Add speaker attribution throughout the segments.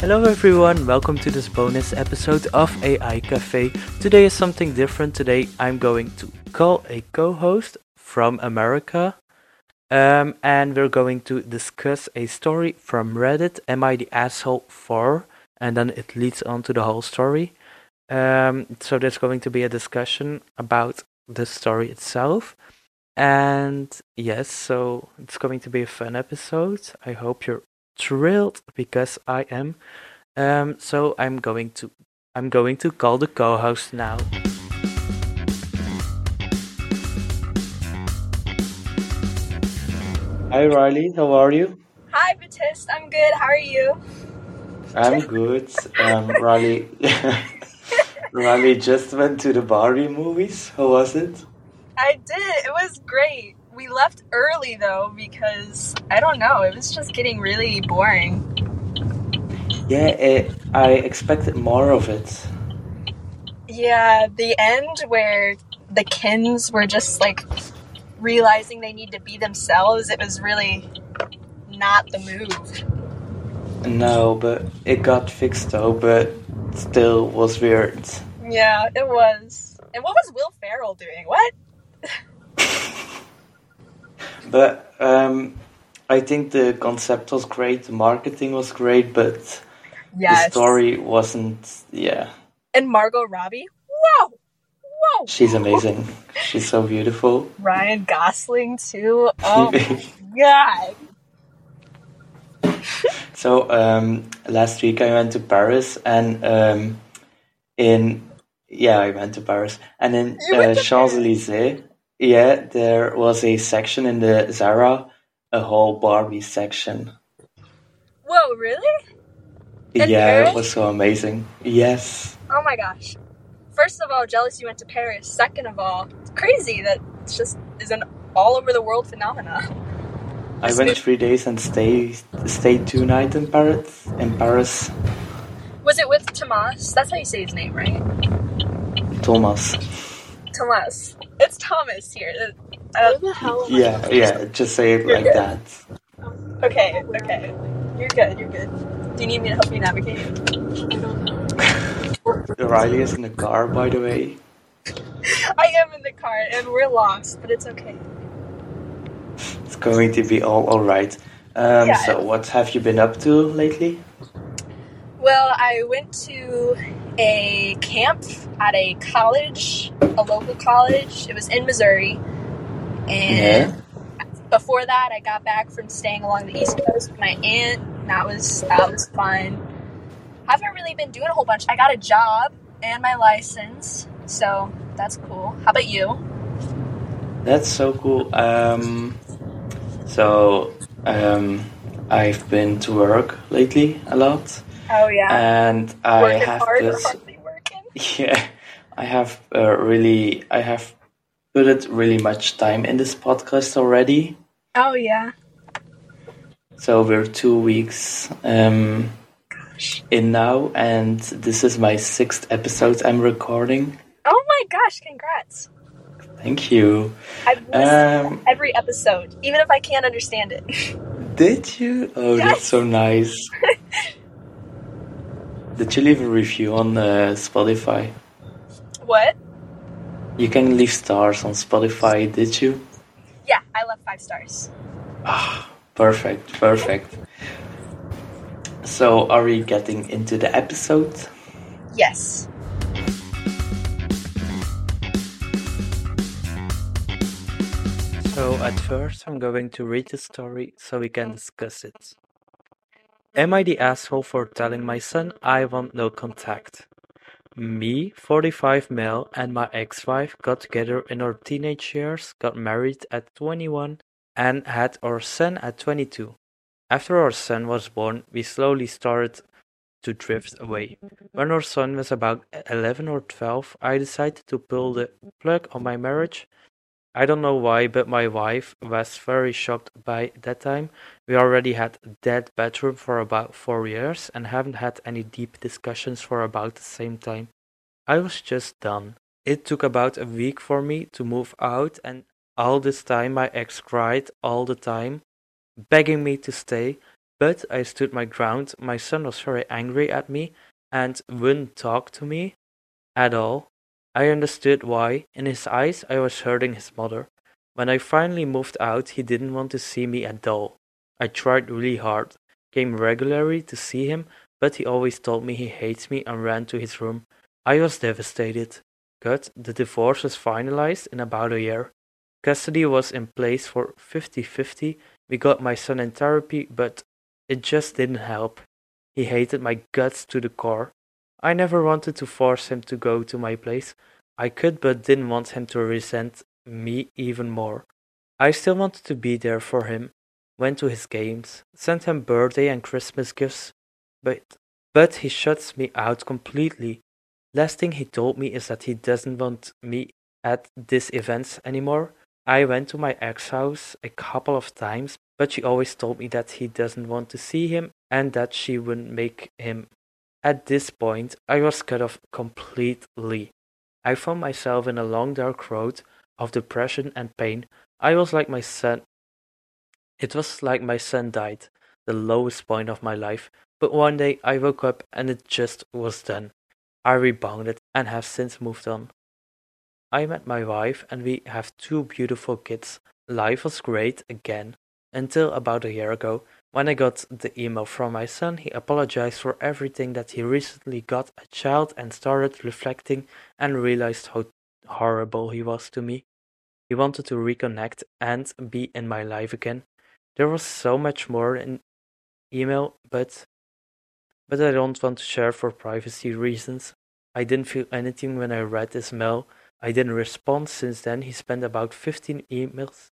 Speaker 1: Hello everyone, welcome to this bonus episode of AI Cafe. Today is something different. Today I'm going to call a co-host from America. Um, and we're going to discuss a story from Reddit, Am I the Asshole for? And then it leads on to the whole story. Um, so there's going to be a discussion about the story itself. And yes, so it's going to be a fun episode. I hope you're thrilled because I am. Um, so I'm going to I'm going to call the co-host now.
Speaker 2: Hi Riley, how are you?
Speaker 3: Hi, Batiste. I'm good. How are you?
Speaker 2: I'm good. Um, Riley, Riley just went to the Barbie movies. How was it?
Speaker 3: I did. It was great. We left early though because I don't know. It was just getting really boring.
Speaker 2: Yeah, eh, I expected more of it.
Speaker 3: Yeah, the end where the Kins were just like realizing they need to be themselves. It was really not the move.
Speaker 2: No, but it got fixed though. But still was weird.
Speaker 3: Yeah, it was. And what was Will Ferrell doing? What?
Speaker 2: But um, I think the concept was great, the marketing was great, but the
Speaker 3: Yes.
Speaker 2: story wasn't. Yeah,
Speaker 3: And Margot Robbie. Whoa. Whoa.
Speaker 2: she's amazing. She's so beautiful.
Speaker 3: Ryan Gosling too. Oh my god.
Speaker 2: So um, last week I went to Paris and um, in yeah I went to Paris and in
Speaker 3: You
Speaker 2: uh,
Speaker 3: went to
Speaker 2: Champs Elysees yeah there was a section in the Zara a whole Barbie section
Speaker 3: Whoa, really? In
Speaker 2: yeah
Speaker 3: Paris?
Speaker 2: it was so amazing yes
Speaker 3: Oh my gosh. First of all, jealous you went to Paris. Second of all, it's crazy that it's just is an all over the world phenomena.
Speaker 2: I went three days and stayed stayed two nights in Paris in Paris
Speaker 3: Was it with Tomas? That's how you say his name, right?
Speaker 2: Thomas
Speaker 3: Tomas. It's Thomas here. Uh,
Speaker 4: the hell
Speaker 2: yeah yeah just say it like that
Speaker 3: okay, okay. You're good, you're good. Do you need me to help you navigate?
Speaker 2: Riley is in the car by the way
Speaker 3: I am in the car and we're lost, but it's okay.
Speaker 2: It's going to be all all right. Um,
Speaker 3: Yeah.
Speaker 2: So, what have you been up to lately?
Speaker 3: Well, I went to a camp at a college, a local college. It was in Missouri. And before that, I got back from staying along the East Coast with my aunt. and That was that was fun. Haven't really been doing a whole bunch. I got a job and my license, so that's cool. How about you?
Speaker 2: That's so cool. Um, so, um, I've been to work lately a lot,
Speaker 3: Oh yeah,
Speaker 2: and I
Speaker 3: working
Speaker 2: have
Speaker 3: hard, or
Speaker 2: this.
Speaker 3: hardly working.
Speaker 2: Yeah, I have uh, really, I have put it really much time in this podcast already.
Speaker 3: Oh yeah.
Speaker 2: So we're two weeks um, in now, and this is my sixth episode I'm recording.
Speaker 3: Oh my gosh! Congrats.
Speaker 2: Thank you.
Speaker 3: I've listened
Speaker 2: Um,
Speaker 3: to every episode, even if I can't understand it.
Speaker 2: Did you? Oh, that's so nice. Did you leave a review on uh, Spotify?
Speaker 3: What?
Speaker 2: You can leave stars on Spotify, did you?
Speaker 3: Yeah, I left five stars.
Speaker 2: Perfect, perfect. So, are we getting into the episode?
Speaker 3: Yes.
Speaker 1: So at first I'm going to read the story so we can discuss it. Am I the asshole for telling my son I want no contact? Me, 45 male, and my ex-wife got together in our teenage years, got married at 21, and had our son at 22. After our son was born, we slowly started to drift away. When our son was about 11 or 12, I decided to pull the plug on my marriage. I don't know why, but my wife was very shocked by that time. We already had that bedroom for about 4 years and haven't had any deep discussions for about the same time. I was just done. It took about a week for me to move out, and all this time my ex cried all the time, begging me to stay, But I stood my ground. My son was very angry at me and wouldn't talk to me at all. I understood why. In his eyes, I was hurting his mother. When I finally moved out, he didn't want to see me at all. I tried really hard, came regularly to see him, but he always told me he hates me and ran to his room. I was devastated. But the divorce was finalized in about a year. Custody was in place for 50 50. We got my son in therapy, but it just didn't help. He hated my guts to the core. I never wanted to force him to go to my place. I could, but didn't want him to resent me even more. I still wanted to be there for him. Went to his games, sent him birthday and Christmas gifts, but but he shuts me out completely. Last thing he told me is that he doesn't want me at these events anymore. I went to my ex house a couple of times, but she always told me that he doesn't want to see him and that she wouldn't make him. At this point, I was cut off completely. I found myself in a long dark road of depression and pain. I was like my son. It was like my son died, the lowest point of my life. But one day I woke up and it just was done. I rebounded and have since moved on. I met my wife and we have two beautiful kids. Life was great again until about a year ago when I got the email from my son. He apologized for everything that he recently got a child and started reflecting and realized how horrible he was to me. He wanted to reconnect and be in my life again. There was so much more in email, but but I don't want to share for privacy reasons. I didn't feel anything when I read this mail. I didn't respond since then. He spent about 15 emails.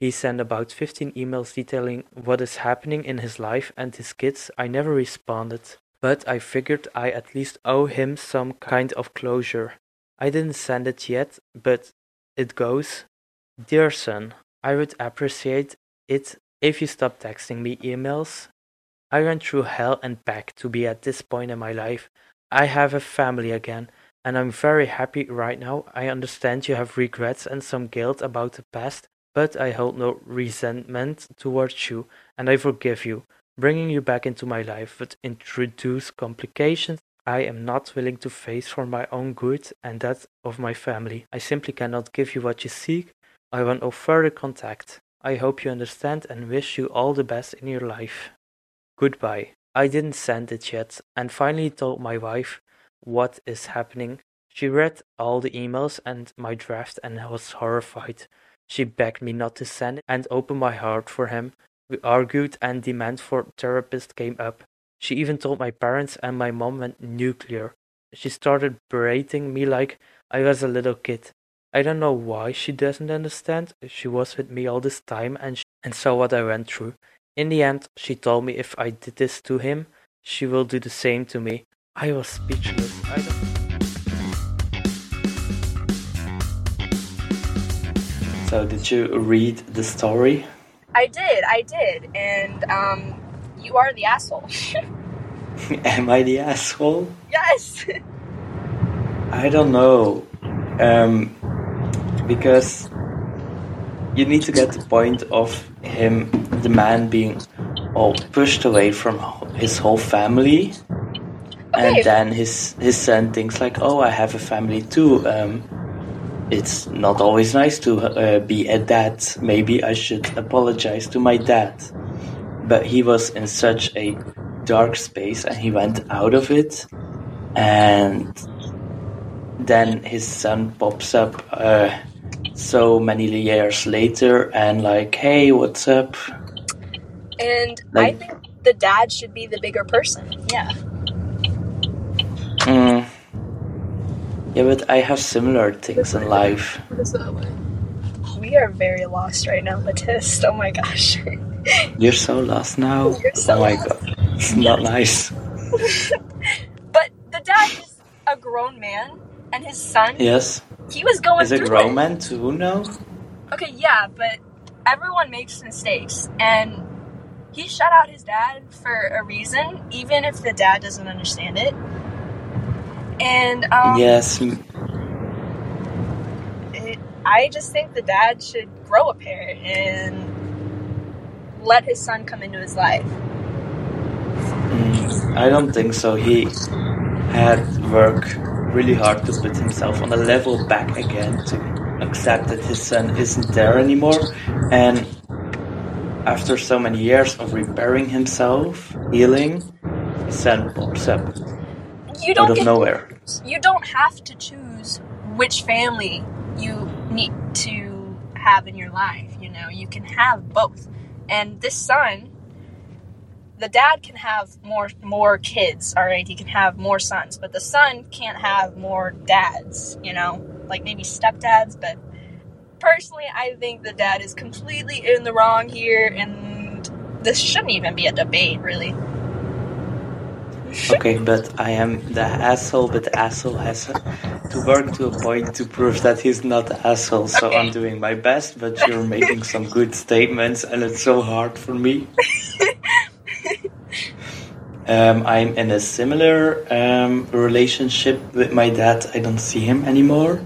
Speaker 1: He sent about 15 emails detailing what is happening in his life and his kids. I never responded, but I figured I at least owe him some kind of closure. I didn't send it yet, but it goes Dear son, I would appreciate it if you stop texting me emails. I went through hell and back to be at this point in my life. I have a family again, and I'm very happy right now. I understand you have regrets and some guilt about the past, but I hold no resentment towards you, and I forgive you. Bringing you back into my life would introduce complications I am not willing to face for my own good and that of my family. I simply cannot give you what you seek. I want no further contact. I hope you understand and wish you all the best in your life. Goodbye. I didn't send it yet and finally told my wife what is happening. She read all the emails and my draft and was horrified. She begged me not to send it and opened my heart for him. We argued and demand for therapist came up. She even told my parents and my mom went nuclear. She started berating me like I was a little kid. I don't know why she doesn't understand. She was with me all this time and she, and saw what I went through. In the end, she told me if I did this to him, she will do the same to me. I was speechless. I
Speaker 2: don't... So, did you read the story?
Speaker 3: I did, I did, and um, you are the asshole.
Speaker 2: Am I the asshole?
Speaker 3: Yes.
Speaker 2: I don't know. Um, because you need to get the point of him, the man being all pushed away from his whole family.
Speaker 3: Okay.
Speaker 2: And then his, his son thinks like, oh, I have a family too. Um, it's not always nice to uh, be a dad. Maybe I should apologize to my dad but he was in such a dark space and he went out of it and then his son pops up uh, so many years later and like hey what's up
Speaker 3: and like, i think the dad should be the bigger person yeah
Speaker 2: mm, yeah but i have similar things in life
Speaker 3: we are very lost right now matist oh my gosh
Speaker 2: You're so lost now.
Speaker 3: So
Speaker 2: oh my god. It's not nice.
Speaker 3: but the dad is a grown man and his son
Speaker 2: Yes.
Speaker 3: He was going
Speaker 2: Is a grown it. man too now?
Speaker 3: Okay, yeah, but everyone makes mistakes and he shut out his dad for a reason, even if the dad doesn't understand it. And um,
Speaker 2: Yes.
Speaker 3: It, I just think the dad should grow a pair and let his son come into his life.
Speaker 1: I don't think so. He had worked really hard to put himself on a level back again to accept that his son isn't there anymore. And after so many years of repairing himself, healing, his son pops up
Speaker 3: You
Speaker 1: out
Speaker 3: don't
Speaker 1: of
Speaker 3: get
Speaker 1: nowhere.
Speaker 3: you don't have to choose which family you need to have in your life you know you can have both and this son the dad can have more more kids all right he can have more sons but the son can't have more dads you know like maybe stepdads but personally i think the dad is completely in the wrong here and this shouldn't even be a debate really
Speaker 1: Okay, but I am the asshole, but the asshole has to work to a point to prove that he's not the asshole. So
Speaker 3: Okay.
Speaker 1: I'm doing my best, but you're making some good statements, and it's so hard for me. Um, I'm in a similar um, relationship with my dad. I don't see him anymore.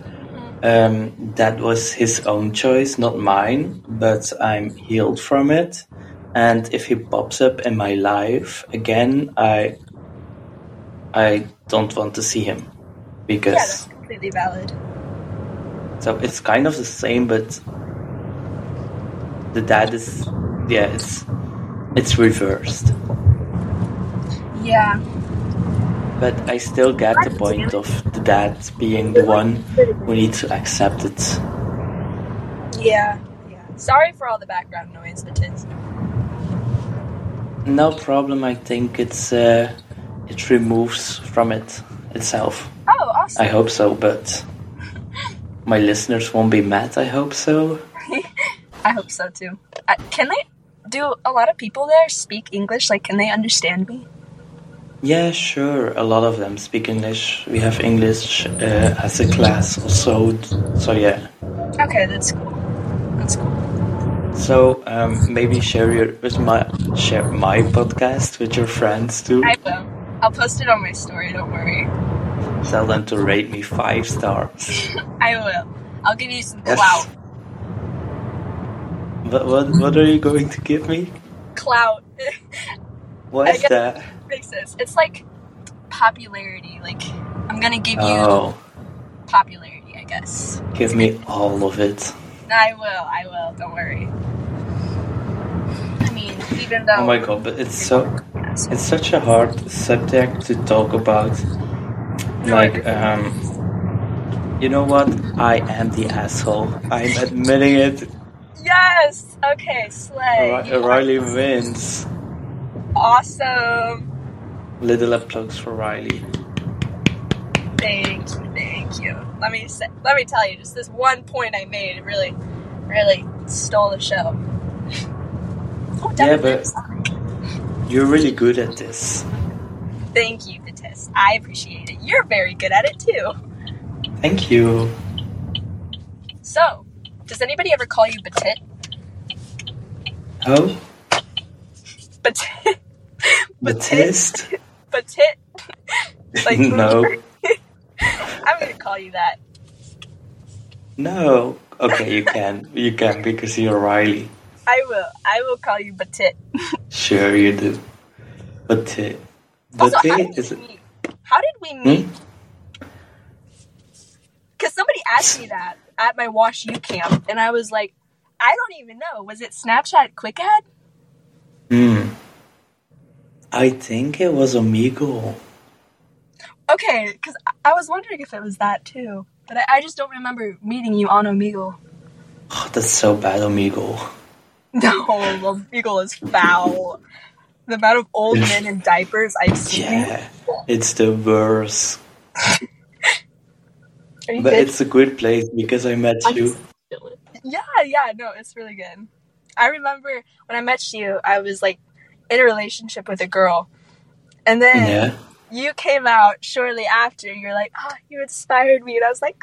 Speaker 1: Um, that was his own choice, not mine, but I'm healed from it. And if he pops up in my life again, I I don't want to see him
Speaker 3: yeah that's
Speaker 1: because
Speaker 3: completely valid
Speaker 1: so it's kind of the same, but the dad is yeah, it's it's reversed.
Speaker 3: yeah
Speaker 1: But I still get the point of the dad being the one who needs to accept it.
Speaker 3: Yeah, yeah. Sorry for all the background noise, but it's
Speaker 1: No problem. I think it's uh, it removes from it itself.
Speaker 3: oh
Speaker 1: I
Speaker 3: awesome.
Speaker 1: hope so, but my listeners won't be mad. I hope so.
Speaker 3: I hope so too. I, can they? Do a lot of people there speak English? Like, can they understand me?
Speaker 1: Yeah, sure. A lot of them speak English. We have English uh, as a class also. So yeah.
Speaker 3: Okay, that's cool. That's cool.
Speaker 1: So um, maybe share your with my share my podcast with your friends too.
Speaker 3: I will. I'll post it on my story. Don't worry.
Speaker 1: Tell them to rate me five stars.
Speaker 3: I will. I'll give you some
Speaker 1: Yes.
Speaker 3: clout.
Speaker 1: What what what are you going to give me?
Speaker 3: Clout
Speaker 1: What
Speaker 3: I
Speaker 1: is
Speaker 3: guess-
Speaker 1: that?
Speaker 3: makes sense. It's like popularity. Like, I'm gonna give
Speaker 1: Oh.
Speaker 3: you popularity. I guess.
Speaker 1: Give me all of it.
Speaker 3: I will. I will. Don't worry. I mean, even though.
Speaker 1: Oh my god, but it's so
Speaker 3: Yes.
Speaker 1: it's such a hard subject to talk about.
Speaker 3: No,
Speaker 1: Like um you know what? I am the asshole. I'm admitting it.
Speaker 3: Yes. Okay, Slay.
Speaker 1: Ri-
Speaker 3: You are
Speaker 1: Riley wins.
Speaker 3: Awesome.
Speaker 1: Little applause for Riley.
Speaker 3: Thank you. Thank you. Let me say, let me tell you, just this one point I made it really, really stole the show. Oh,
Speaker 1: Yeah,
Speaker 3: definitely.
Speaker 1: but you're really good at this.
Speaker 3: Thank you, Vitis. I appreciate it. You're very good at it too.
Speaker 1: Thank you.
Speaker 3: So, does anybody ever call you Batit?
Speaker 1: Oh,
Speaker 3: Batit.
Speaker 1: Batiste?
Speaker 3: Batit. Like-
Speaker 1: no,
Speaker 3: I'm gonna call you that.
Speaker 1: no. Okay, you can, you can because you're Riley.
Speaker 3: I will. I will call you Batit.
Speaker 1: Sure, you do. Batiste.
Speaker 3: Also, how
Speaker 1: Batiste
Speaker 3: did
Speaker 1: is.
Speaker 3: we meet? How did we meet?
Speaker 1: Hmm?
Speaker 3: Because somebody asked me that at my Wash U camp, and I was like, I don't even know. Was it Snapchat Quick Ad?
Speaker 1: Hmm. I think it was Amigo.
Speaker 3: Okay, because I was wondering if it was that too. But I, I just don't remember meeting you on Omegle.
Speaker 1: Oh, that's so bad, Amigo.
Speaker 3: No, Omegle is foul. The amount of old men in diapers I've seen.
Speaker 1: Yeah, it's the worst.
Speaker 3: Are you
Speaker 1: But
Speaker 3: good?
Speaker 1: it's a good place because I met you.
Speaker 3: Yeah, yeah, no, it's really good. I remember when I met you, I was like in a relationship with a girl. And then.
Speaker 1: Yeah.
Speaker 3: you came out shortly after. You're like, oh, you inspired me. And I was like,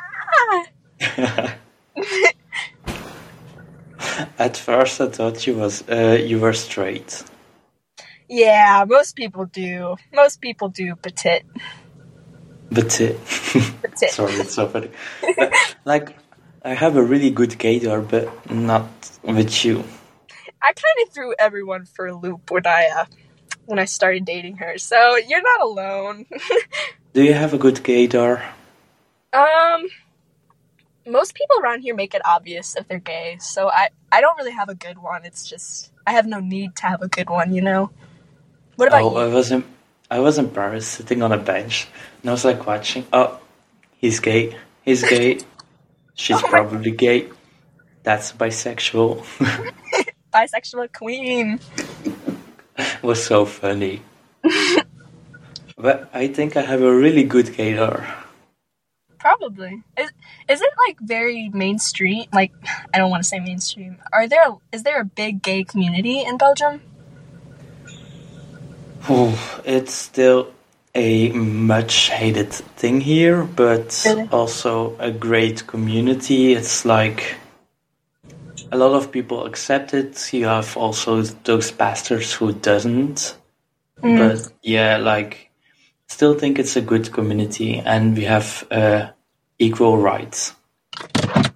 Speaker 3: ah.
Speaker 1: At first, I thought you was uh, you were straight.
Speaker 3: Yeah, most people do. Most people do petit.
Speaker 1: But uh,
Speaker 3: Petit.
Speaker 1: sorry, it's so funny. But, like, I have a really good gator, but not with you.
Speaker 3: I kind of threw everyone for a loop when I uh, when I started dating her. So you're not alone.
Speaker 2: Do you have a good gaydar?
Speaker 3: um, most people around here make it obvious if they're gay. So I I don't really have a good one. It's just I have no need to have a good one. You know. What about
Speaker 2: Oh, I
Speaker 3: you?
Speaker 2: was in, I was in Paris sitting on a bench and I was like watching. Oh, he's gay. He's gay. She's
Speaker 3: Oh my-
Speaker 2: probably gay. That's bisexual.
Speaker 3: Bisexual queen.
Speaker 2: was so funny. but I think I have a really good gaydar.
Speaker 3: Probably. Is is it like very mainstream? Like I don't want to say mainstream. Are there is there a big gay community in Belgium?
Speaker 2: Ooh, it's still a much hated thing here, but
Speaker 3: Really?
Speaker 2: also a great community. It's like a lot of people accept it. You have also those bastards who doesn't.
Speaker 3: Mm.
Speaker 2: But yeah, like still think it's a good community, and we have uh, equal rights.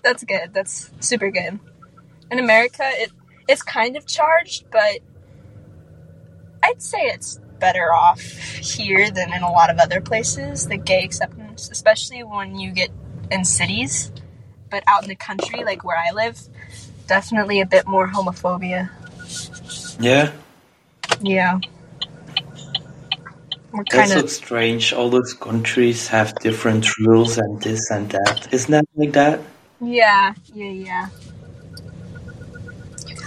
Speaker 3: That's good. That's super good. In America, it it's kind of charged, but I'd say it's better off here than in a lot of other places. The gay acceptance, especially when you get in cities, but out in the country, like where I live, definitely a bit more homophobia.
Speaker 2: Yeah,
Speaker 3: Yeah, we're
Speaker 2: That's
Speaker 3: kind of
Speaker 2: so strange. All those countries have different rules and this and that. Isn't that like that?
Speaker 3: yeah, yeah, yeah.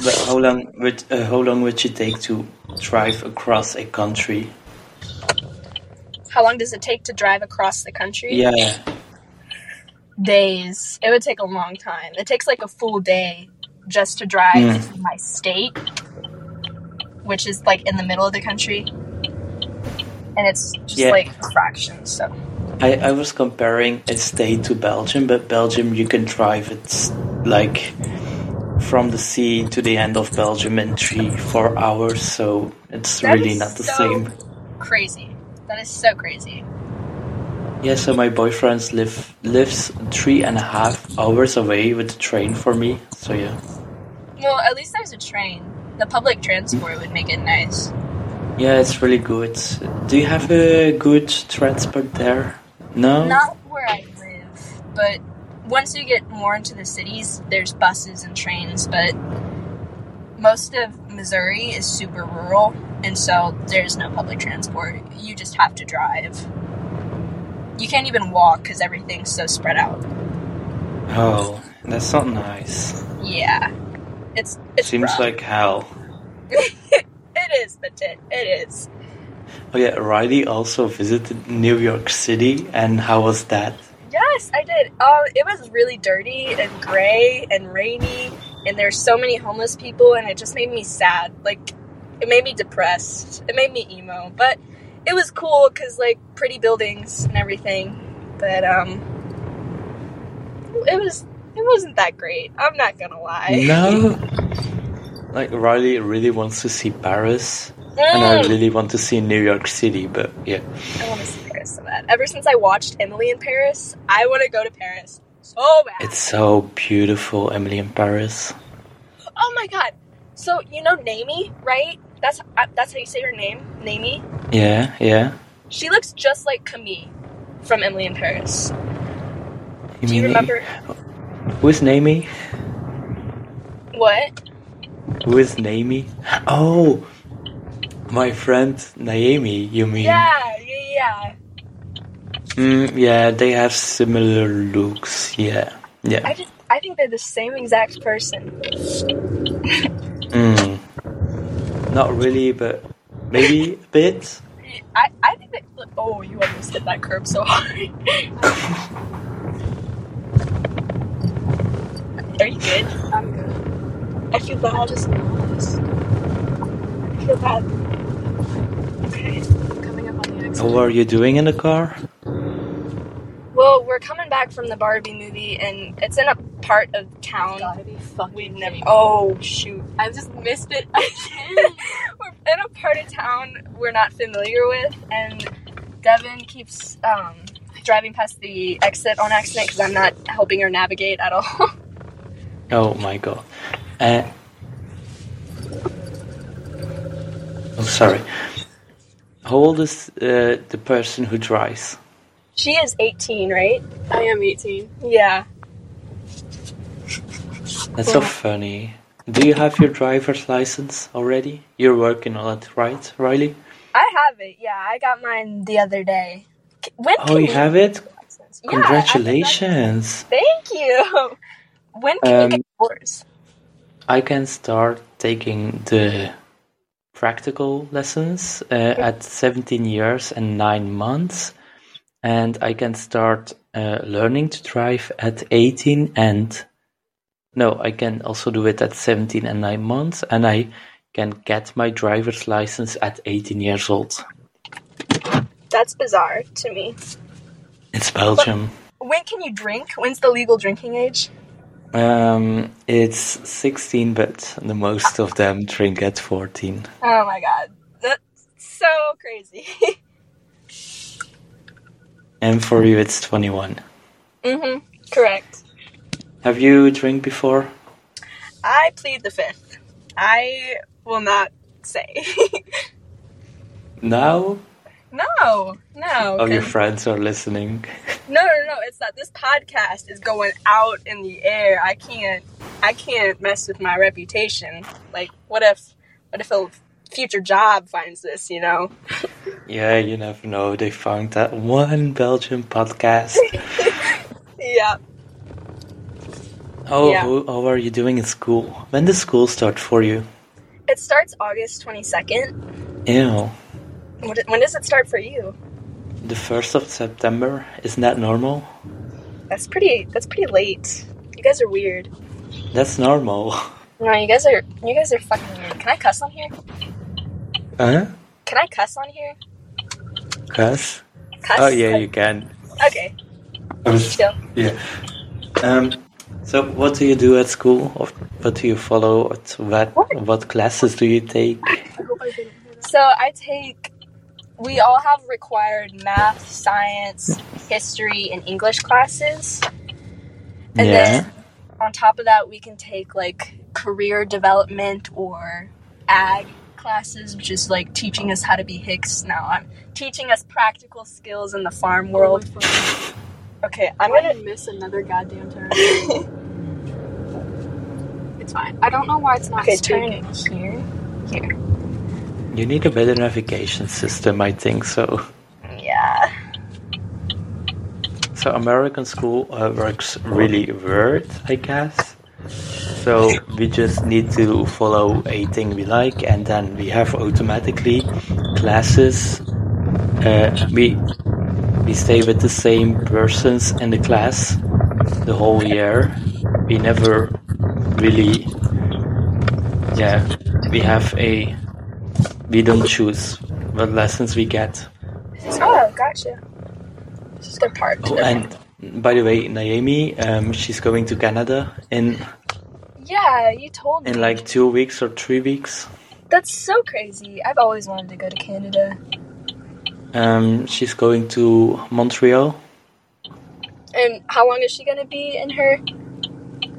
Speaker 2: But how long would uh, how long would you take to drive across a country?
Speaker 3: How long does it take to drive across the country?
Speaker 2: Yeah,
Speaker 3: days. It would take a long time. It takes like a full day just to drive
Speaker 2: Mm.
Speaker 3: from my state, which is like in the middle of the country. And it's just
Speaker 2: Yeah.
Speaker 3: like a fraction, so.
Speaker 2: I, I was comparing a state to Belgium, but Belgium you can drive it like from the sea to the end of Belgium in three four hours. So it's
Speaker 3: That
Speaker 2: really
Speaker 3: is
Speaker 2: not the
Speaker 3: so
Speaker 2: same.
Speaker 3: Crazy. That is so crazy.
Speaker 2: Yeah, so my boyfriend live lives three and a half hours away with the train for me. So yeah.
Speaker 3: Well, at least there's a train. The public transport would make it nice.
Speaker 2: Yeah, it's really good. Do you have a good transport there? No?
Speaker 3: Not where I live, but once you get more into the cities, there's buses and trains, but most of Missouri is super rural, and so there's no public transport. You just have to drive. You can't even walk because everything's so spread out.
Speaker 2: Oh, that's not nice.
Speaker 3: Yeah. It's it's
Speaker 2: Seems
Speaker 3: rough.
Speaker 2: like hell.
Speaker 3: it is, but it, it is.
Speaker 2: Oh yeah, Riley also visited New York City, and how was that?
Speaker 3: Yes, I did. Um, it was really dirty and gray and rainy, and there's so many homeless people, and it just made me sad. Like, it made me depressed. It made me emo, but it was cool because like pretty buildings and everything. But um, it was it wasn't that great. I'm not gonna lie. Mm,
Speaker 2: No. Like Riley really wants to see Paris, and I
Speaker 3: Mm,
Speaker 2: really want to see New York City, but yeah.
Speaker 3: I want to see Paris so bad. Ever since I watched Emily in Paris, I want to go to Paris so bad.
Speaker 2: It's so beautiful, Emily in Paris.
Speaker 3: Oh my god! So you know Namie, right? That's uh, that's how you say her name, Namie.
Speaker 2: Yeah, yeah.
Speaker 3: She looks just like Camille from Emily in Paris.
Speaker 2: You
Speaker 3: Do you
Speaker 2: mean-
Speaker 3: remember
Speaker 2: Who's Namie?
Speaker 3: what?
Speaker 2: Who is Naomi? Oh, my friend Naomi, you mean?
Speaker 3: Yeah, yeah, yeah.
Speaker 2: Mm, yeah, they have similar looks. Yeah. Yeah.
Speaker 3: I just I think they're the same exact person.
Speaker 2: Mm. Not really, but maybe a bit.
Speaker 3: I I think they look. Oh, you almost hit that curb so hard. Are you good? I'm good. I feel bad. I just I feel bad. Okay, coming up on the exit.
Speaker 2: What are you doing in the car?
Speaker 3: Well, we're coming back from the Barbie movie, and it's in a part of town
Speaker 4: gotta be fucking
Speaker 3: we never.
Speaker 4: kidding me.
Speaker 3: Oh shoot!
Speaker 4: I just missed it.
Speaker 3: we're in a part of town we're not familiar with, and Devin keeps um, driving past the exit on accident because I'm not helping her navigate at all.
Speaker 2: Oh my god. Eh. Uh, oh, sorry. How old is uh, the person who drives?
Speaker 3: She is 18, right?
Speaker 4: I am 18.
Speaker 3: Yeah.
Speaker 2: That's so funny. Do you have your driver's license already? You're working on it, right, Riley?
Speaker 3: I have it. Yeah, I got mine the other day. C- When
Speaker 2: Oh,
Speaker 3: can
Speaker 2: you have it?
Speaker 3: license? Yeah, I have a driver's
Speaker 2: Congratulations!
Speaker 3: Thank you. When can
Speaker 2: Um,
Speaker 3: you get yours?
Speaker 2: I can start taking the practical lessons uh, at 17 years and 9 months, and I can start uh, learning to drive at 18 and no, I can also do it at 17 and 9 months, and I can get my driver's license at 18 years old.
Speaker 3: That's bizarre to me.
Speaker 2: It's Belgium.
Speaker 3: When can you drink? When's the legal drinking age?
Speaker 2: Um, it's 16, but the most of them drink at 14.
Speaker 3: Oh my god. That's so crazy.
Speaker 2: And for you, it's 21.
Speaker 3: mm-hmm. Correct.
Speaker 2: Have you drank before?
Speaker 3: I plead the fifth. I will not say.
Speaker 2: Now?
Speaker 3: no, no.
Speaker 2: Oh, your
Speaker 3: 'cause-
Speaker 2: friends are listening.
Speaker 3: No, no, no. It's not. This podcast is going out in the air. I can't. I can't mess with my reputation. Like, what if? What if a future job finds this? You know.
Speaker 2: yeah, you never know. They found that one Belgian podcast.
Speaker 3: Yeah.
Speaker 2: Oh,
Speaker 3: Yeah.
Speaker 2: how, how are you doing in school? When does school start for you?
Speaker 3: It starts August twenty second.
Speaker 2: Ew.
Speaker 3: When does it start for you?
Speaker 2: The 1st of September? Isn't that normal?
Speaker 3: That's pretty. That's pretty late. You guys are weird.
Speaker 2: That's normal.
Speaker 3: No, you guys are. You guys are fucking weird. Can I cuss on here?
Speaker 2: Huh?
Speaker 3: Can I cuss on here?
Speaker 2: Cuss?
Speaker 3: Cuss.
Speaker 2: Oh, yeah, you can.
Speaker 3: Okay. Chill.
Speaker 2: Yeah. Um, so, what do you do at school? Or what do you follow? What, what, what classes do you take?
Speaker 3: So I take. We all have required math, science, history, and English classes. And
Speaker 2: yeah.
Speaker 3: then on top of that, we can take like career development or ag classes, which is like teaching us how to be Hicks now. I'm teaching us practical skills in the farm world.
Speaker 4: Oh my fucking-
Speaker 3: Okay, I'm
Speaker 4: I'm
Speaker 3: gonna.
Speaker 4: gonna miss another goddamn turn. it's fine. I don't know why it's not
Speaker 3: Okay, turn
Speaker 4: speaking.
Speaker 3: it here.
Speaker 2: You need a better navigation system, I think so.
Speaker 3: Yeah.
Speaker 2: So American school uh, works really weird, I guess. So we just need to follow a thing we like, and then we have automatically classes. Uh, we we stay with the same persons in the class the whole year. We never really, yeah. We have a we don't choose what lessons we get.
Speaker 3: Oh, gotcha. This is a good part.
Speaker 2: Oh, and by the way, Naomi, um, she's going to Canada in
Speaker 3: yeah, you told me.
Speaker 2: in like two weeks or three weeks.
Speaker 3: That's so crazy. I've always wanted to go to Canada.
Speaker 2: Um, she's going to Montreal,
Speaker 3: And how long is she gonna be in her?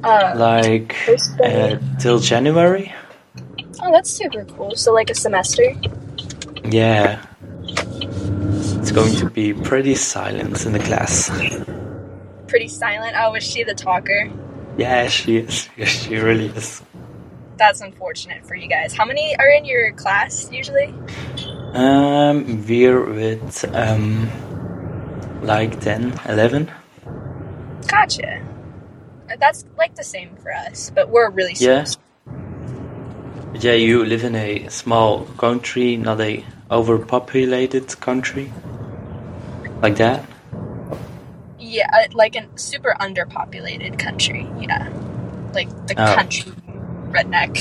Speaker 3: Uh,
Speaker 2: like
Speaker 3: First
Speaker 2: uh,
Speaker 3: day.
Speaker 2: till January.
Speaker 3: oh, that's super cool. So like a semester.
Speaker 2: Yeah, it's going to be pretty silent in the class.
Speaker 3: Pretty silent. Oh, was she the talker?
Speaker 2: Yeah, she is. She really is.
Speaker 3: That's unfortunate for you guys. How many are in your class usually?
Speaker 2: Um, we're with um, like 10, 11.
Speaker 3: Gotcha. Uh, That's like the same for us, but we're really small.
Speaker 2: Yeah. Yeah, you live in a small country, not a overpopulated country. Like that?
Speaker 3: Yeah, uh, like a super underpopulated country. Yeah, like the
Speaker 2: Oh.
Speaker 3: country redneck,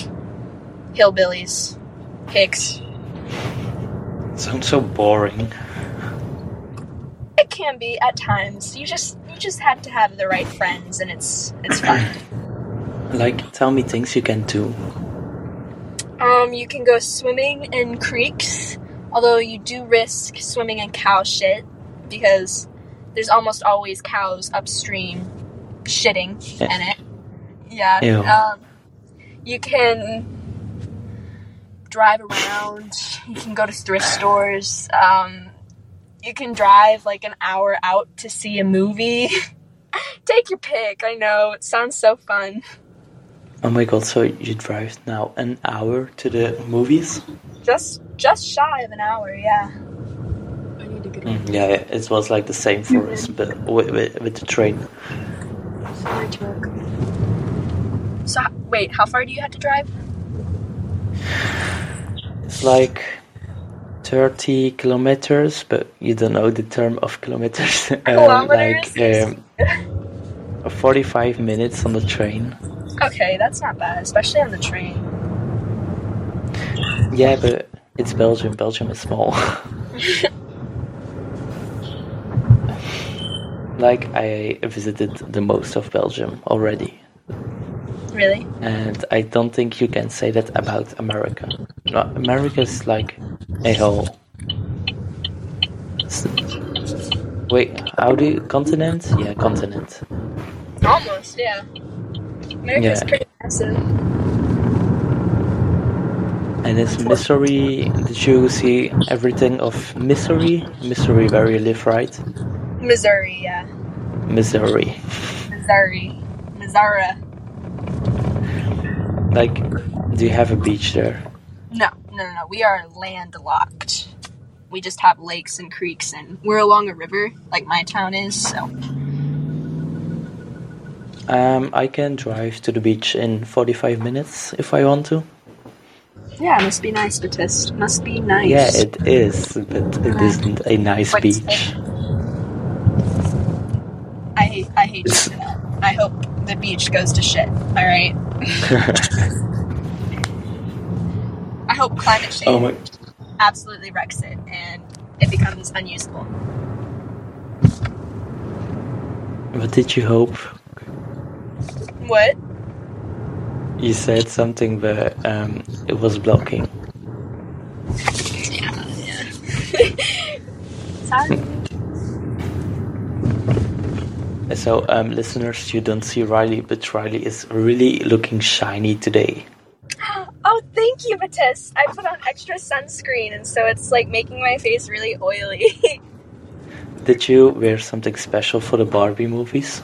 Speaker 3: hillbillies, hicks.
Speaker 2: Sounds so boring.
Speaker 3: It can be at times. You just you just have to have the right friends, and it's it's fun.
Speaker 2: Like, tell me things you can do.
Speaker 3: Um, you can go swimming in creeks, although you do risk swimming in cow shit because there's almost always cows upstream shitting in it. Yeah.
Speaker 2: Ew.
Speaker 3: Um, you can drive around. You can go to thrift stores. Um, you can drive like an hour out to see a movie. Take your pick. I know it sounds so fun.
Speaker 2: Oh my god, so you drive now an hour to the movies?
Speaker 3: Just just shy of an hour. Yeah.
Speaker 4: I need to get
Speaker 2: Mm, yeah, yeah, it was like the same for us, but with, with, with the train.
Speaker 4: my truck.
Speaker 3: So h- wait, how far do you have to drive?
Speaker 2: It's like 30 kilometers, but you don't know the term of kilometers. Uh,
Speaker 3: Kilometers?
Speaker 2: Like um, 45 minutes on the train.
Speaker 3: Okay, that's not bad, especially on the train.
Speaker 2: Yeah, but it's Belgium. Belgium is small. like, I visited the most of Belgium already.
Speaker 3: Really?
Speaker 2: And I don't think you can say that about America. No, America is like a whole. S- Wait, how do you continent? Yeah, continent.
Speaker 3: Almost, yeah. America's
Speaker 2: Yeah.
Speaker 3: pretty massive.
Speaker 2: And it's Missouri. Did you see everything of Missouri? Missouri, where you live, right?
Speaker 3: Missouri, yeah.
Speaker 2: Missouri.
Speaker 3: Missouri. Missouri.
Speaker 2: Like, do you have a beach there?
Speaker 3: No, no, no, no. We are landlocked. We just have lakes and creeks, and we're along a river, like my town is. So
Speaker 2: Um, I can drive to the beach in 45 minutes if I want to.
Speaker 4: Yeah, must be nice, Batiste. Must be nice.
Speaker 2: Yeah, it is, but it isn't a nice
Speaker 3: What's
Speaker 2: beach.
Speaker 3: I hate, I hate you for that. I hope the beach goes to shit. All right. I hope climate change
Speaker 2: oh my.
Speaker 3: absolutely wrecks it, and it becomes unusable.
Speaker 2: What did you hope?
Speaker 3: What?
Speaker 2: You said something, but um, it was blocking.
Speaker 3: Sorry.
Speaker 2: So, um, listeners, you don't see Riley, but Riley is really looking shiny today.
Speaker 3: Oh, thank you, Matisse. I put on extra sunscreen, and so it's like making my face really oily.
Speaker 2: Did you wear something special for the Barbie movies?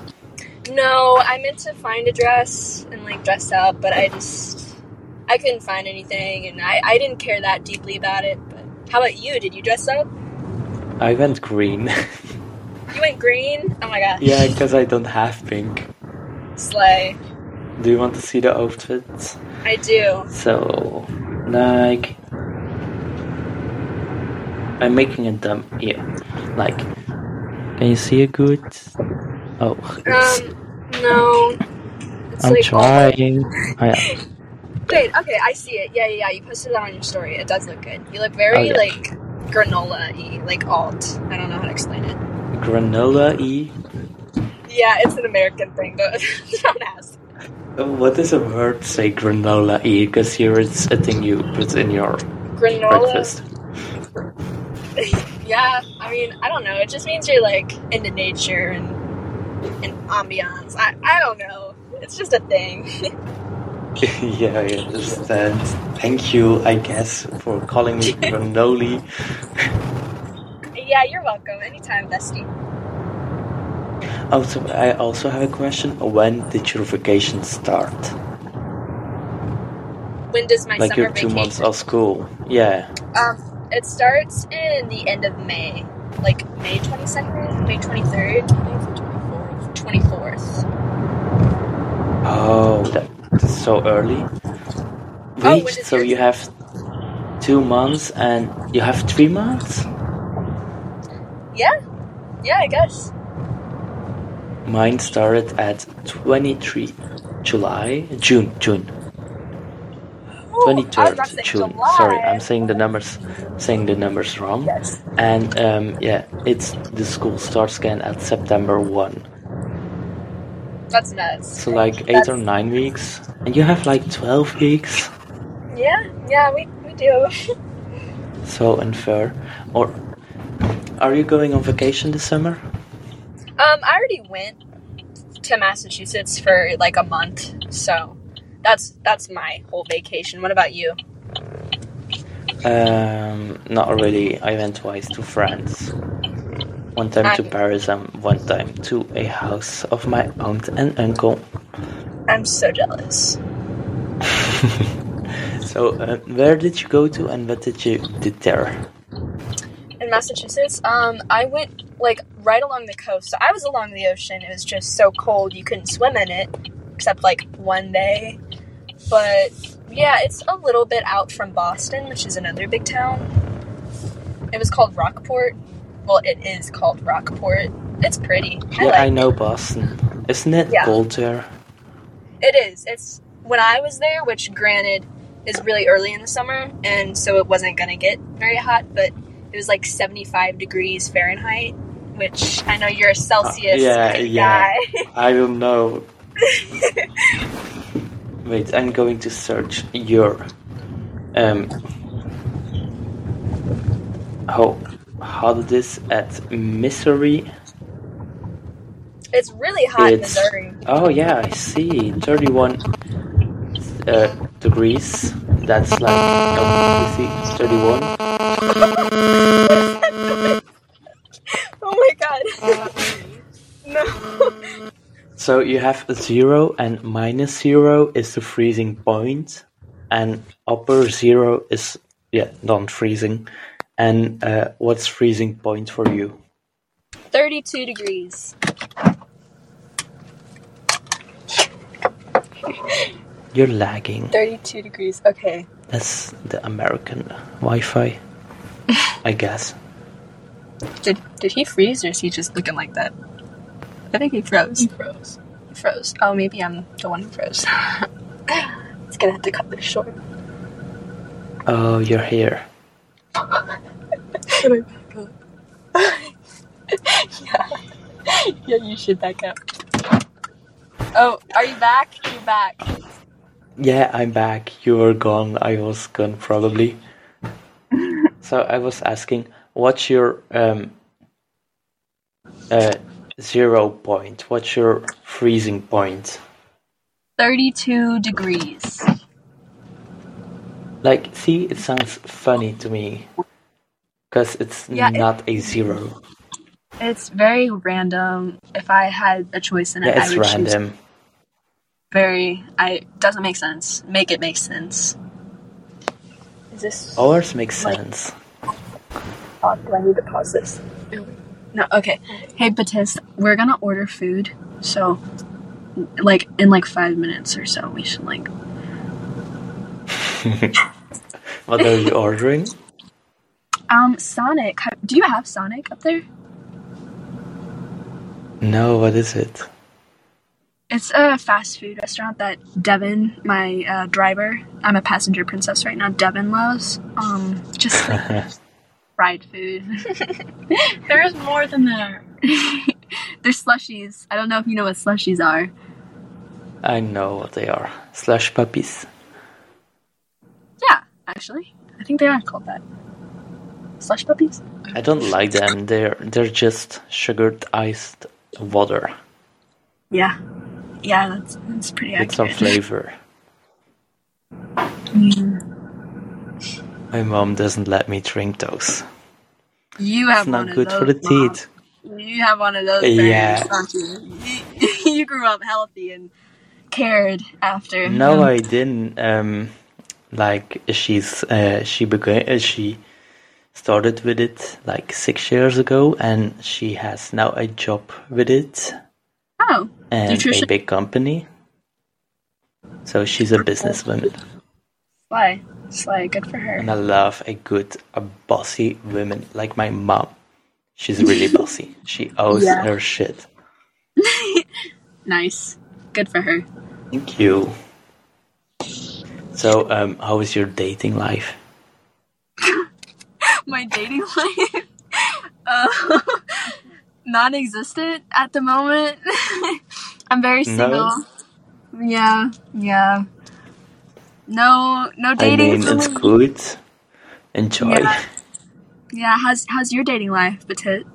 Speaker 3: no, I meant to find a dress and like dress up, but I just I couldn't find anything, and I I didn't care that deeply about it. But how about you? Did you dress up?
Speaker 2: I went green.
Speaker 3: You went green. Oh my gosh.
Speaker 2: yeah, because I don't have pink.
Speaker 3: Slay.
Speaker 2: Do you want to see the outfits?
Speaker 3: I do.
Speaker 2: So, like, I'm making a dumb. Yeah, like, can you see a good? Oh, it's,
Speaker 3: Um, no. It's
Speaker 2: I'm
Speaker 3: like oh all-
Speaker 2: trying. I,
Speaker 3: Wait, okay, I see it. Yeah, yeah, yeah. You posted that on your story. It does look good. You look very
Speaker 2: Oh, yeah.
Speaker 3: like granola y, like alt. I don't know how to explain it.
Speaker 2: granola e.
Speaker 3: Yeah, it's an American thing. Don't, don't ask.
Speaker 2: Oh, What does a word say granola e? Because here it's a thing you put in your
Speaker 3: Granola.
Speaker 2: breakfast.
Speaker 3: Yeah, I mean, I don't know. It just means you're like into nature and and ambiance. I I don't know. It's just a thing.
Speaker 2: yeah, I understand. Thank you, I guess, for calling me E. granoli.
Speaker 3: yeah, you're welcome. Anytime, bestie.
Speaker 2: Also, I also have a question. When did your vacation start?
Speaker 3: When does my
Speaker 2: like
Speaker 3: summer
Speaker 2: your two
Speaker 3: vacation?
Speaker 2: months of school? Yeah.
Speaker 3: Um, it starts in the end of May, like May 22nd, May 23rd, 24th, 24th.
Speaker 2: Oh, that- that's so early. Wait,
Speaker 3: Oh, when is
Speaker 2: so
Speaker 3: yours?
Speaker 2: you have two months and you have three months?
Speaker 3: Yeah, yeah, I guess.
Speaker 2: Mine started at 23 July, June, June.
Speaker 3: Ooh, Oh, I was about
Speaker 2: 23rd
Speaker 3: to say
Speaker 2: June.
Speaker 3: July.
Speaker 2: Sorry, I'm saying the numbers, saying the numbers wrong.
Speaker 3: Yes.
Speaker 2: And um, yeah, it's the school starts again at September one.
Speaker 3: That's nuts.
Speaker 2: So like eight or nine weeks, and you have like twelve weeks.
Speaker 3: Yeah, yeah, we, we do.
Speaker 2: So unfair. Or are you going on vacation this summer?
Speaker 3: Um, I already went to Massachusetts for like a month, so that's that's my whole vacation. What about you?
Speaker 2: Um, not really. I went twice to France. One time to
Speaker 3: Nice.
Speaker 2: Paris and one time to a house of my aunt and uncle.
Speaker 3: I'm so jealous.
Speaker 2: So, uh, where did you go to and what did you did there?
Speaker 3: in Massachusetts, um, I went like right along the coast. So I was along the ocean. It was just so cold you couldn't swim in it, except like one day. But yeah, it's a little bit out from Boston, which is another big town. It was called Rockport. Well, it is called Rockport. It's pretty. I
Speaker 2: yeah,
Speaker 3: like
Speaker 2: I know Boston. Isn't it
Speaker 3: Yeah.
Speaker 2: cold there?
Speaker 3: It is. It's when I was there, which granted is really early in the summer, and so it wasn't going to get very hot, but it was like 75 degrees Fahrenheit, which I know you're a Celsius
Speaker 2: Uh, yeah,
Speaker 3: kind of
Speaker 2: yeah.
Speaker 3: guy.
Speaker 2: I don't know. Wait, I'm going to search your um how holidays at Missouri.
Speaker 3: It's really hot in
Speaker 2: It's-
Speaker 3: Missouri.
Speaker 2: Oh yeah, I see. Thirty-one uh, degrees. That's like oh, you see, thirty-one.
Speaker 3: Oh my god. no.
Speaker 2: So you have zero and minus zero is the freezing point, and upper zero is yeah non-freezing. And uh, what's freezing point for you?
Speaker 3: 32 degrees.
Speaker 2: You're lagging.
Speaker 3: 32 degrees. Okay.
Speaker 2: That's the American Wi-Fi, I guess.
Speaker 4: Did did he freeze or is he just looking like that? I think he froze. He froze.
Speaker 3: He froze.
Speaker 4: Oh, maybe I'm the one who froze.
Speaker 3: It's gonna have to cut this short.
Speaker 2: Oh, you're here.
Speaker 4: Should I back up? yeah. Yeah, you should back up.
Speaker 3: Oh, are you back? You're back.
Speaker 2: Yeah, I'm back. You were gone. I was gone, probably. so I was asking, what's your um uh zero point? What's your freezing point?
Speaker 3: 32 degrees.
Speaker 2: Like, see, it sounds funny to me, because it's
Speaker 3: Yeah, it-
Speaker 2: not a zero.
Speaker 4: It's very random. If I had a choice in it,
Speaker 2: Yeah, it's
Speaker 4: I would choose
Speaker 2: random.
Speaker 4: very. I doesn't make sense. Make it make sense.
Speaker 3: Is this.
Speaker 2: Ours makes sense.
Speaker 3: Oh, do I need to pause this?
Speaker 4: No, okay. Hey, Batis, we're gonna order food, so like in like five minutes or so, we should like.
Speaker 2: What are you ordering?
Speaker 4: Um, Sonic, ha- do you have Sonic up there?
Speaker 2: No, what is it?
Speaker 4: It's a fast food restaurant that Devin, my uh, driver, I'm a passenger princess right now. Devin loves um just like, fried food.
Speaker 5: There's more than that.
Speaker 4: There's slushies. I don't know if you know what slushies are.
Speaker 2: I know what they are. Slash puppies.
Speaker 4: Yeah, actually, I think they are called that. Slush puppies.
Speaker 2: I don't like them. They're they're just sugared iced water
Speaker 4: Yeah, yeah, that's that's pretty
Speaker 2: with some
Speaker 4: accurate.
Speaker 2: flavor.
Speaker 4: Mm.
Speaker 2: My mom doesn't let me drink those.
Speaker 4: You
Speaker 2: It's
Speaker 4: have one
Speaker 2: not
Speaker 4: of
Speaker 2: good
Speaker 4: those,
Speaker 2: for the
Speaker 4: Mom.
Speaker 2: teeth.
Speaker 4: You have one of those.
Speaker 2: Yeah.
Speaker 4: Yeah. Don't you? You, you grew up healthy and cared after.
Speaker 2: No,
Speaker 4: him.
Speaker 2: I didn't. Um, like she's uh, she began uh, she started with it like six years ago, and she has now a job with it
Speaker 4: Oh,
Speaker 2: and
Speaker 4: Nutrition- Oh,
Speaker 2: a big company. So she's a businesswoman.
Speaker 4: Sly, Sly, good for her.
Speaker 2: And I love a good, a bossy woman like my mom. She's really bossy. She owes
Speaker 4: Yeah.
Speaker 2: her shit.
Speaker 4: Nice, good for her.
Speaker 2: Thank you. So, um, how is your dating life?
Speaker 4: My dating life, uh, non-existent at the moment. I'm
Speaker 2: No?
Speaker 4: very single. Yeah, yeah. No, no
Speaker 2: I
Speaker 4: dating.
Speaker 2: mean,
Speaker 4: for
Speaker 2: it's
Speaker 4: me.
Speaker 2: good. Enjoy.
Speaker 4: Yeah.
Speaker 2: Yeah,
Speaker 4: Yeah, how's how's your dating life, Batit?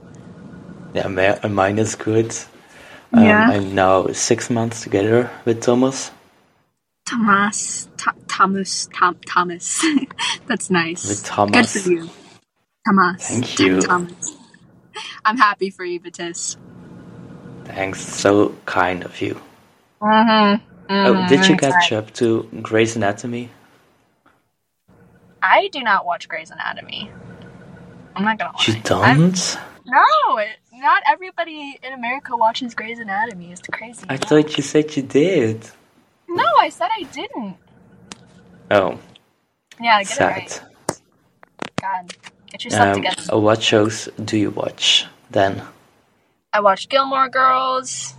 Speaker 2: ma- uh, mine is good. Um,
Speaker 4: Yeah.
Speaker 2: I'm now six months together with Thomas.
Speaker 4: Thomas, Ta- Thomas, Tom, Thomas. That's nice.
Speaker 2: With Thomas.
Speaker 4: Good for you, Thomas.
Speaker 2: Thank
Speaker 4: Tom-
Speaker 2: you.
Speaker 4: Thomas. I'm happy for you, Batis.
Speaker 2: Thanks, so kind of you. Oh,
Speaker 4: Oh,
Speaker 2: did you catch up to Grey's Anatomy?
Speaker 3: I do not watch Grey's Anatomy. I'm not gonna lie.
Speaker 2: You
Speaker 3: I'm-
Speaker 2: don't?
Speaker 3: no, it, not everybody in America watches Grey's Anatomy. It's crazy.
Speaker 2: I thought you said you did.
Speaker 3: no, I said I didn't.
Speaker 2: Oh,
Speaker 3: Yeah, get it
Speaker 2: sad.
Speaker 3: right. God, get yourself
Speaker 2: Um,
Speaker 3: together.
Speaker 2: what shows do you watch then?
Speaker 3: I watched Gilmore Girls.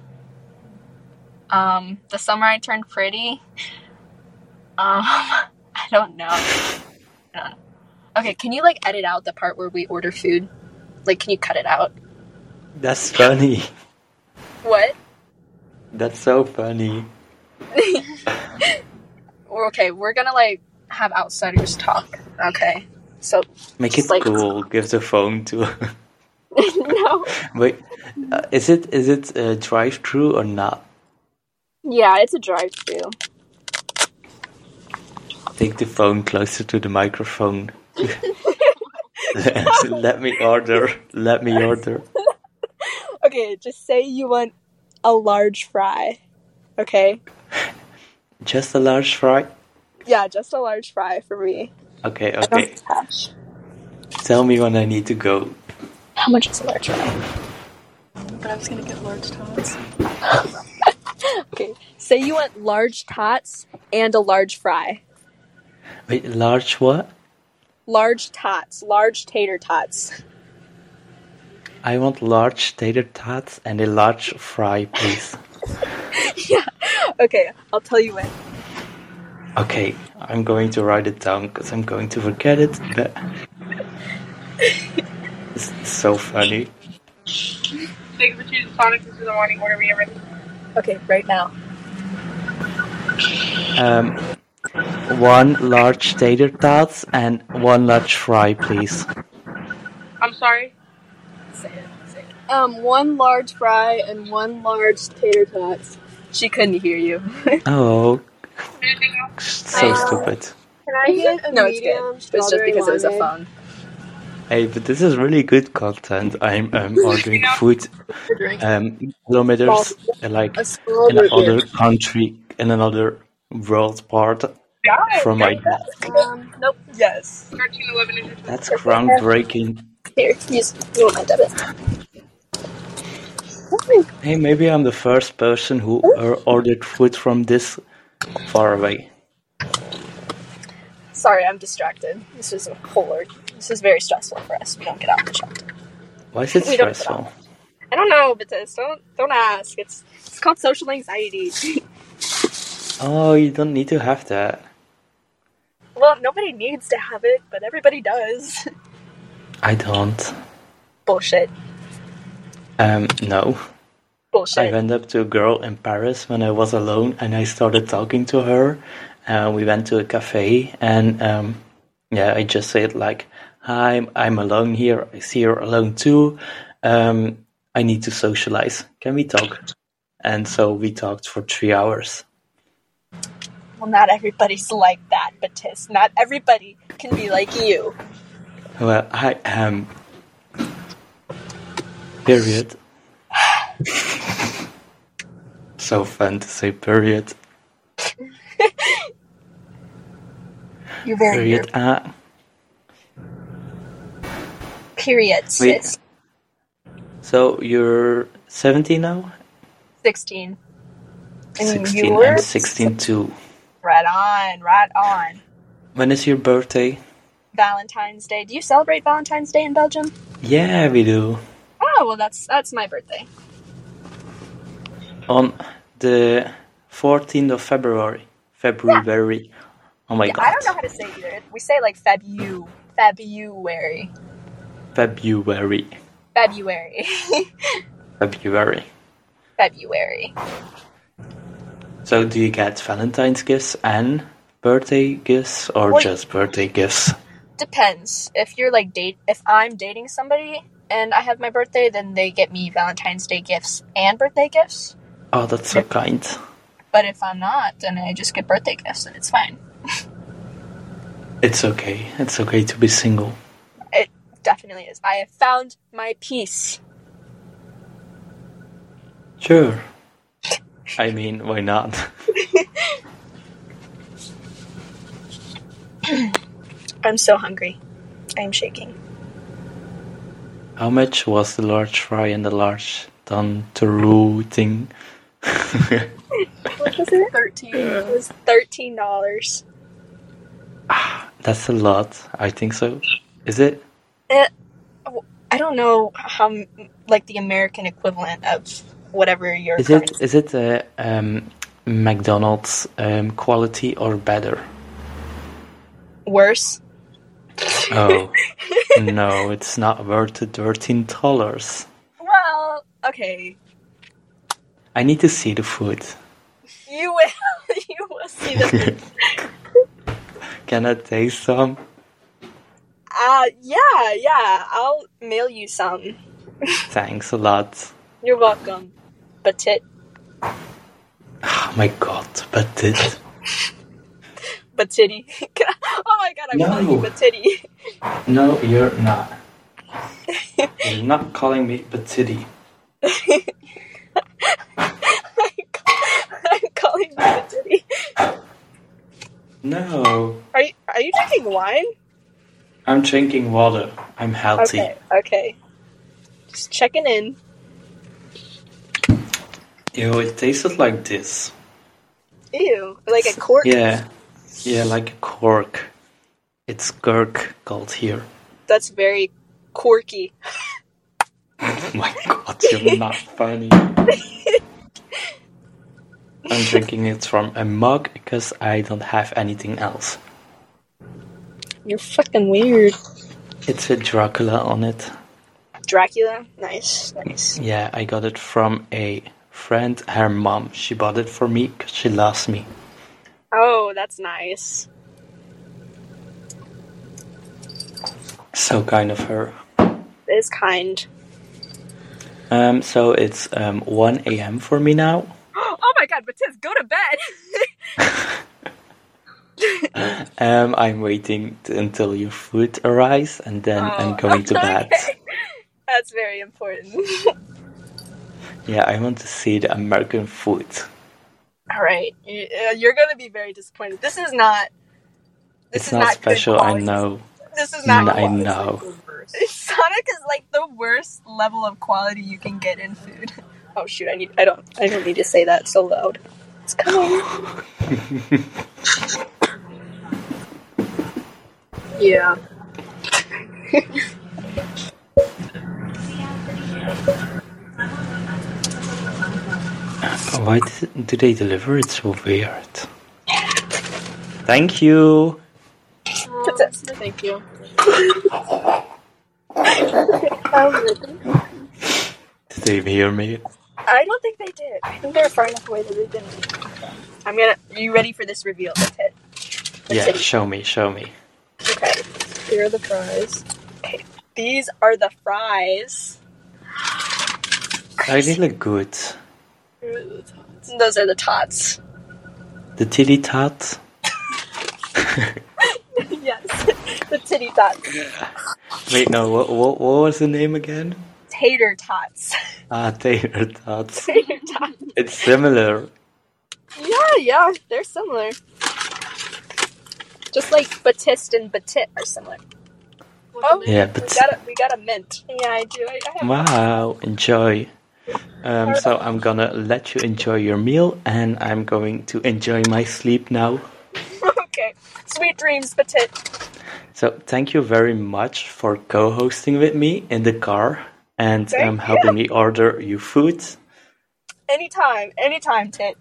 Speaker 3: Um, The Summer I Turned Pretty. Um, I don't know. I don't know. Okay, can you like edit out the part where we order food? Like, can you cut it out?
Speaker 2: That's funny.
Speaker 3: What?
Speaker 2: That's so funny.
Speaker 3: We're- Okay, we're gonna like have outsiders talk. Okay, so
Speaker 2: Make it
Speaker 3: Just like-
Speaker 2: cool. Give the phone to.
Speaker 3: no.
Speaker 2: Wait, uh, is it is it uh, drive through or not?
Speaker 3: Yeah, it's a drive-through.
Speaker 2: Take the phone closer to the microphone. let me order. Let me order.
Speaker 3: Okay, just say you want a large fry. Okay.
Speaker 2: Just a large fry.
Speaker 3: Yeah, just a large fry for me.
Speaker 2: Okay, okay.
Speaker 3: Cash.
Speaker 2: Tell me when I need to go.
Speaker 3: How much is a large fry?
Speaker 5: But I was gonna get large tots.
Speaker 3: Okay. Say you want large tots and a large fry.
Speaker 2: Wait, large what?
Speaker 3: Large tots, large tater tots.
Speaker 2: I want large tater tots and a large fry, please.
Speaker 3: Okay, I'll tell you when.
Speaker 2: okay, I'm going to write it down because I'm going to forget it. But... it's so funny.
Speaker 5: Take the cheese and Sonic into the morning order me everything.
Speaker 3: Okay, right now.
Speaker 2: Um, one large tater tots and one large fry, please.
Speaker 5: I'm sorry.
Speaker 3: Um, one large fry and one large tater tots. She couldn't hear you.
Speaker 2: Oh,
Speaker 5: Anything else?
Speaker 2: so stupid.
Speaker 6: Can I get a
Speaker 3: no, it's
Speaker 6: medium
Speaker 3: good. It was just
Speaker 6: strawberry
Speaker 3: because it was a
Speaker 6: limeade?
Speaker 3: phone.
Speaker 2: Hey, but this is really good content. I'm um, ordering
Speaker 5: Yeah.
Speaker 2: food um, kilometers uh, like
Speaker 6: A
Speaker 2: in
Speaker 6: strawberry.
Speaker 2: another country, in another world part
Speaker 5: Yeah.
Speaker 2: from my desk.
Speaker 6: Um,
Speaker 3: Nope. Yes.
Speaker 5: 1311 is your total.
Speaker 2: That's groundbreaking.
Speaker 3: Here, use. You want my debit?
Speaker 2: Hey, maybe I'm the first person who uh, ordered food from this far away.
Speaker 3: Sorry, I'm distracted. This is a whole. org- This is very stressful for us. We don't get out the shop.
Speaker 2: Why is it
Speaker 3: We don't
Speaker 2: stressful?
Speaker 3: I don't know, but this, don't don't ask. It's it's called social anxiety.
Speaker 2: Oh, you don't need to have that.
Speaker 3: well, nobody needs to have it, but everybody does.
Speaker 2: I don't.
Speaker 3: Bullshit.
Speaker 2: Um, no. I
Speaker 3: Bullshit.
Speaker 2: went up to a girl in Paris when I was alone, and I started talking to her. Uh, we went to a cafe, and um, yeah, I just said like, "Hi, I'm, I'm alone here. I see you're alone too. Um, I need to socialize. Can we talk?" And so we talked for three hours.
Speaker 3: Well, not everybody's like that, Batis. Not everybody can be like you.
Speaker 2: Well, I am. Period. so fun to say period.
Speaker 3: You're very
Speaker 2: Period. Ah.
Speaker 3: period.
Speaker 2: Wait.
Speaker 3: Sis.
Speaker 2: So you're 17 now?
Speaker 3: Sixteen. And
Speaker 2: 16
Speaker 3: Mm, you were
Speaker 2: and 16 too.
Speaker 3: Right on. Right on.
Speaker 2: When is your birthday?
Speaker 3: Valentine's Day. Do you celebrate Valentine's Day in Belgium?
Speaker 2: Yeah, we do.
Speaker 3: Oh well, that's that's my birthday.
Speaker 2: On the 14th of February. February. Oh my
Speaker 3: Yeah,
Speaker 2: god.
Speaker 3: I don't know how to say it either. We say like Febu, February,
Speaker 2: February.
Speaker 3: February,
Speaker 2: February.
Speaker 3: February.
Speaker 2: So do you get Valentine's gifts and birthday gifts or
Speaker 3: Well-
Speaker 2: just birthday gifts?
Speaker 3: depends if you're like date if i'm dating somebody and i have my birthday then they get me valentine's day gifts and birthday gifts
Speaker 2: Oh, that's so kind.
Speaker 3: But if I'm not, then I just get birthday gifts and it's fine.
Speaker 2: It's okay. It's okay to be single.
Speaker 3: It definitely is. I have found my peace.
Speaker 2: Sure. I mean, why not?
Speaker 3: I'm so hungry. I'm shaking.
Speaker 2: How much was the large fry and the large tantaru thing?
Speaker 3: What was it? 13. It was $13.
Speaker 2: That's a lot. I think so. Is it?
Speaker 3: Eh, I don't know how, m- like, the American equivalent of whatever your
Speaker 2: Is it?
Speaker 3: currency-
Speaker 2: Is it uh, um, McDonald's um, quality or better?
Speaker 3: worse.
Speaker 2: Oh no, it's not worth the thirteen dollars.
Speaker 3: Well, okay.
Speaker 2: I need to see the food.
Speaker 3: You will. You will see the.
Speaker 2: Can I taste some?
Speaker 3: Uh, yeah, yeah. I'll mail you some.
Speaker 2: Thanks a lot.
Speaker 3: You're welcome. But tit,
Speaker 2: Oh my god, but this.
Speaker 3: but titty. Can I- oh my god, I'm calling you
Speaker 2: No.
Speaker 3: but titty.
Speaker 2: No, you're not. you're not calling me Batiti.
Speaker 3: I'm, call- I'm calling you but titty.
Speaker 2: No,
Speaker 3: Are you, are you drinking wine?
Speaker 2: I'm drinking water. I'm healthy.
Speaker 3: Okay, okay. Just checking in.
Speaker 2: Ew, it tasted like this.
Speaker 3: Ew, like a cork.
Speaker 2: Yeah, yeah, like a cork. It's cork called here.
Speaker 3: That's very corky.
Speaker 2: Oh my god, you're not funny. I'm drinking it from a mug because I don't have anything else.
Speaker 3: You're fucking weird.
Speaker 2: It's a Dracula on it.
Speaker 3: Dracula. Nice, nice.
Speaker 2: Yeah, I got it from a friend, her mom. She bought it for me because she loves me.
Speaker 3: Oh, that's nice.
Speaker 2: So kind of her.
Speaker 3: It's kind.
Speaker 2: Um, so it's um, 1 a.m. for me now.
Speaker 3: Oh my god, but tis, go to bed.
Speaker 2: Um, I'm waiting t- until your food arrives and then I'm going to bed.
Speaker 3: Oh, okay. That's very important.
Speaker 2: Yeah, I want to see the American food.
Speaker 3: All right, you, uh, you're gonna be very disappointed. This is not. This
Speaker 2: it's
Speaker 3: is
Speaker 2: not,
Speaker 3: not good
Speaker 2: special, I
Speaker 3: quality.
Speaker 2: know.
Speaker 3: This is not.
Speaker 2: I
Speaker 3: quality.
Speaker 2: know.
Speaker 3: Sonic is like the worst level of quality you can get in food. Oh shoot! I need. I don't. I don't need to say that so loud. It's coming. yeah.
Speaker 2: Why d- do they deliver it so weird? Thank you.
Speaker 4: Um,
Speaker 5: Thank you.
Speaker 2: Did they hear me?
Speaker 3: I don't think they did. I think they were far enough away that they didn't. I'm gonna. Are you ready for this reveal? That's it.
Speaker 2: Yeah,
Speaker 3: it.
Speaker 2: show me, show me.
Speaker 3: Okay. Here are the fries. Okay. These are the fries.
Speaker 2: They look good.
Speaker 3: Those are the tots.
Speaker 2: The titty tot.
Speaker 3: yes. the titty tots.
Speaker 2: Wait, no, what, what, what was the name again?
Speaker 3: Tater tots.
Speaker 2: Ah, tater tots.
Speaker 3: Tater tots.
Speaker 2: It's similar.
Speaker 3: Yeah, yeah. They're similar. Just like Batiste and Batit are similar. Oh,
Speaker 2: Yeah,
Speaker 3: we
Speaker 2: but
Speaker 3: got a, we got a mint. Yeah, I do. I, I have
Speaker 2: wow, enjoy. Um, so I'm gonna let you enjoy your meal, and I'm going to enjoy my sleep now.
Speaker 3: Okay. Sweet dreams, Batit.
Speaker 2: So thank you very much for co-hosting with me in the car and
Speaker 3: Thank
Speaker 2: um, helping me order your food.
Speaker 3: Anytime, anytime, Tit.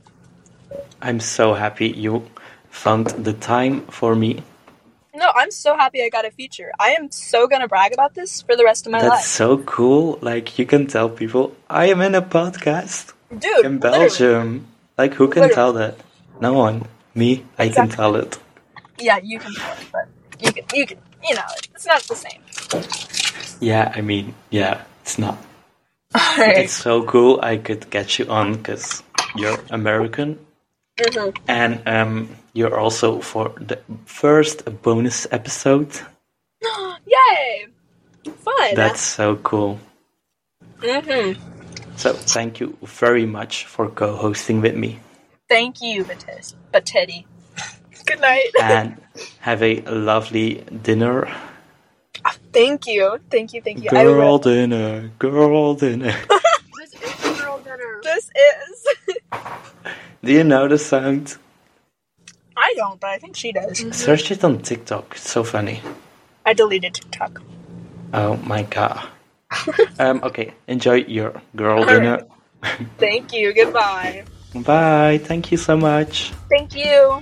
Speaker 2: I'm so happy you found the time for me.
Speaker 3: No, I'm so happy I got a feature. I am so gonna brag about this for the rest of my
Speaker 2: That's
Speaker 3: life.
Speaker 2: so cool. Like you can tell people I am in a podcast
Speaker 3: Dude,
Speaker 2: in
Speaker 3: literally.
Speaker 2: Belgium. Like who can
Speaker 3: Literally.
Speaker 2: tell that? No one. Me, I can
Speaker 3: Exactly.
Speaker 2: tell it.
Speaker 3: Yeah, you can tell it, but you can, you can, you know, it's not the same.
Speaker 2: Yeah, I mean, yeah, it's not.
Speaker 3: All right.
Speaker 2: It's so cool I could get you on because you're American
Speaker 3: Mhm.
Speaker 2: And um, you're also for the first bonus episode.
Speaker 3: Yay! Fun.
Speaker 2: That's so cool.
Speaker 3: Mhm.
Speaker 2: So thank you very much for co-hosting with me,
Speaker 3: Thank you, Batis- Batetti. Good night.
Speaker 2: and have a lovely dinner,
Speaker 3: Thank you. Thank you. Thank you. I
Speaker 2: girl
Speaker 3: will.
Speaker 2: dinner, girl dinner.
Speaker 5: This is the girl dinner.
Speaker 3: This is.
Speaker 2: Do you know the sound?
Speaker 3: Mm-hmm. I don't, but I think she does.
Speaker 2: Search it on TikTok. It's so funny.
Speaker 3: I deleted TikTok.
Speaker 2: Oh my god. um, okay, enjoy your girl dinner.
Speaker 3: Thank you. Goodbye.
Speaker 2: Bye. Thank you so much.
Speaker 3: Thank you.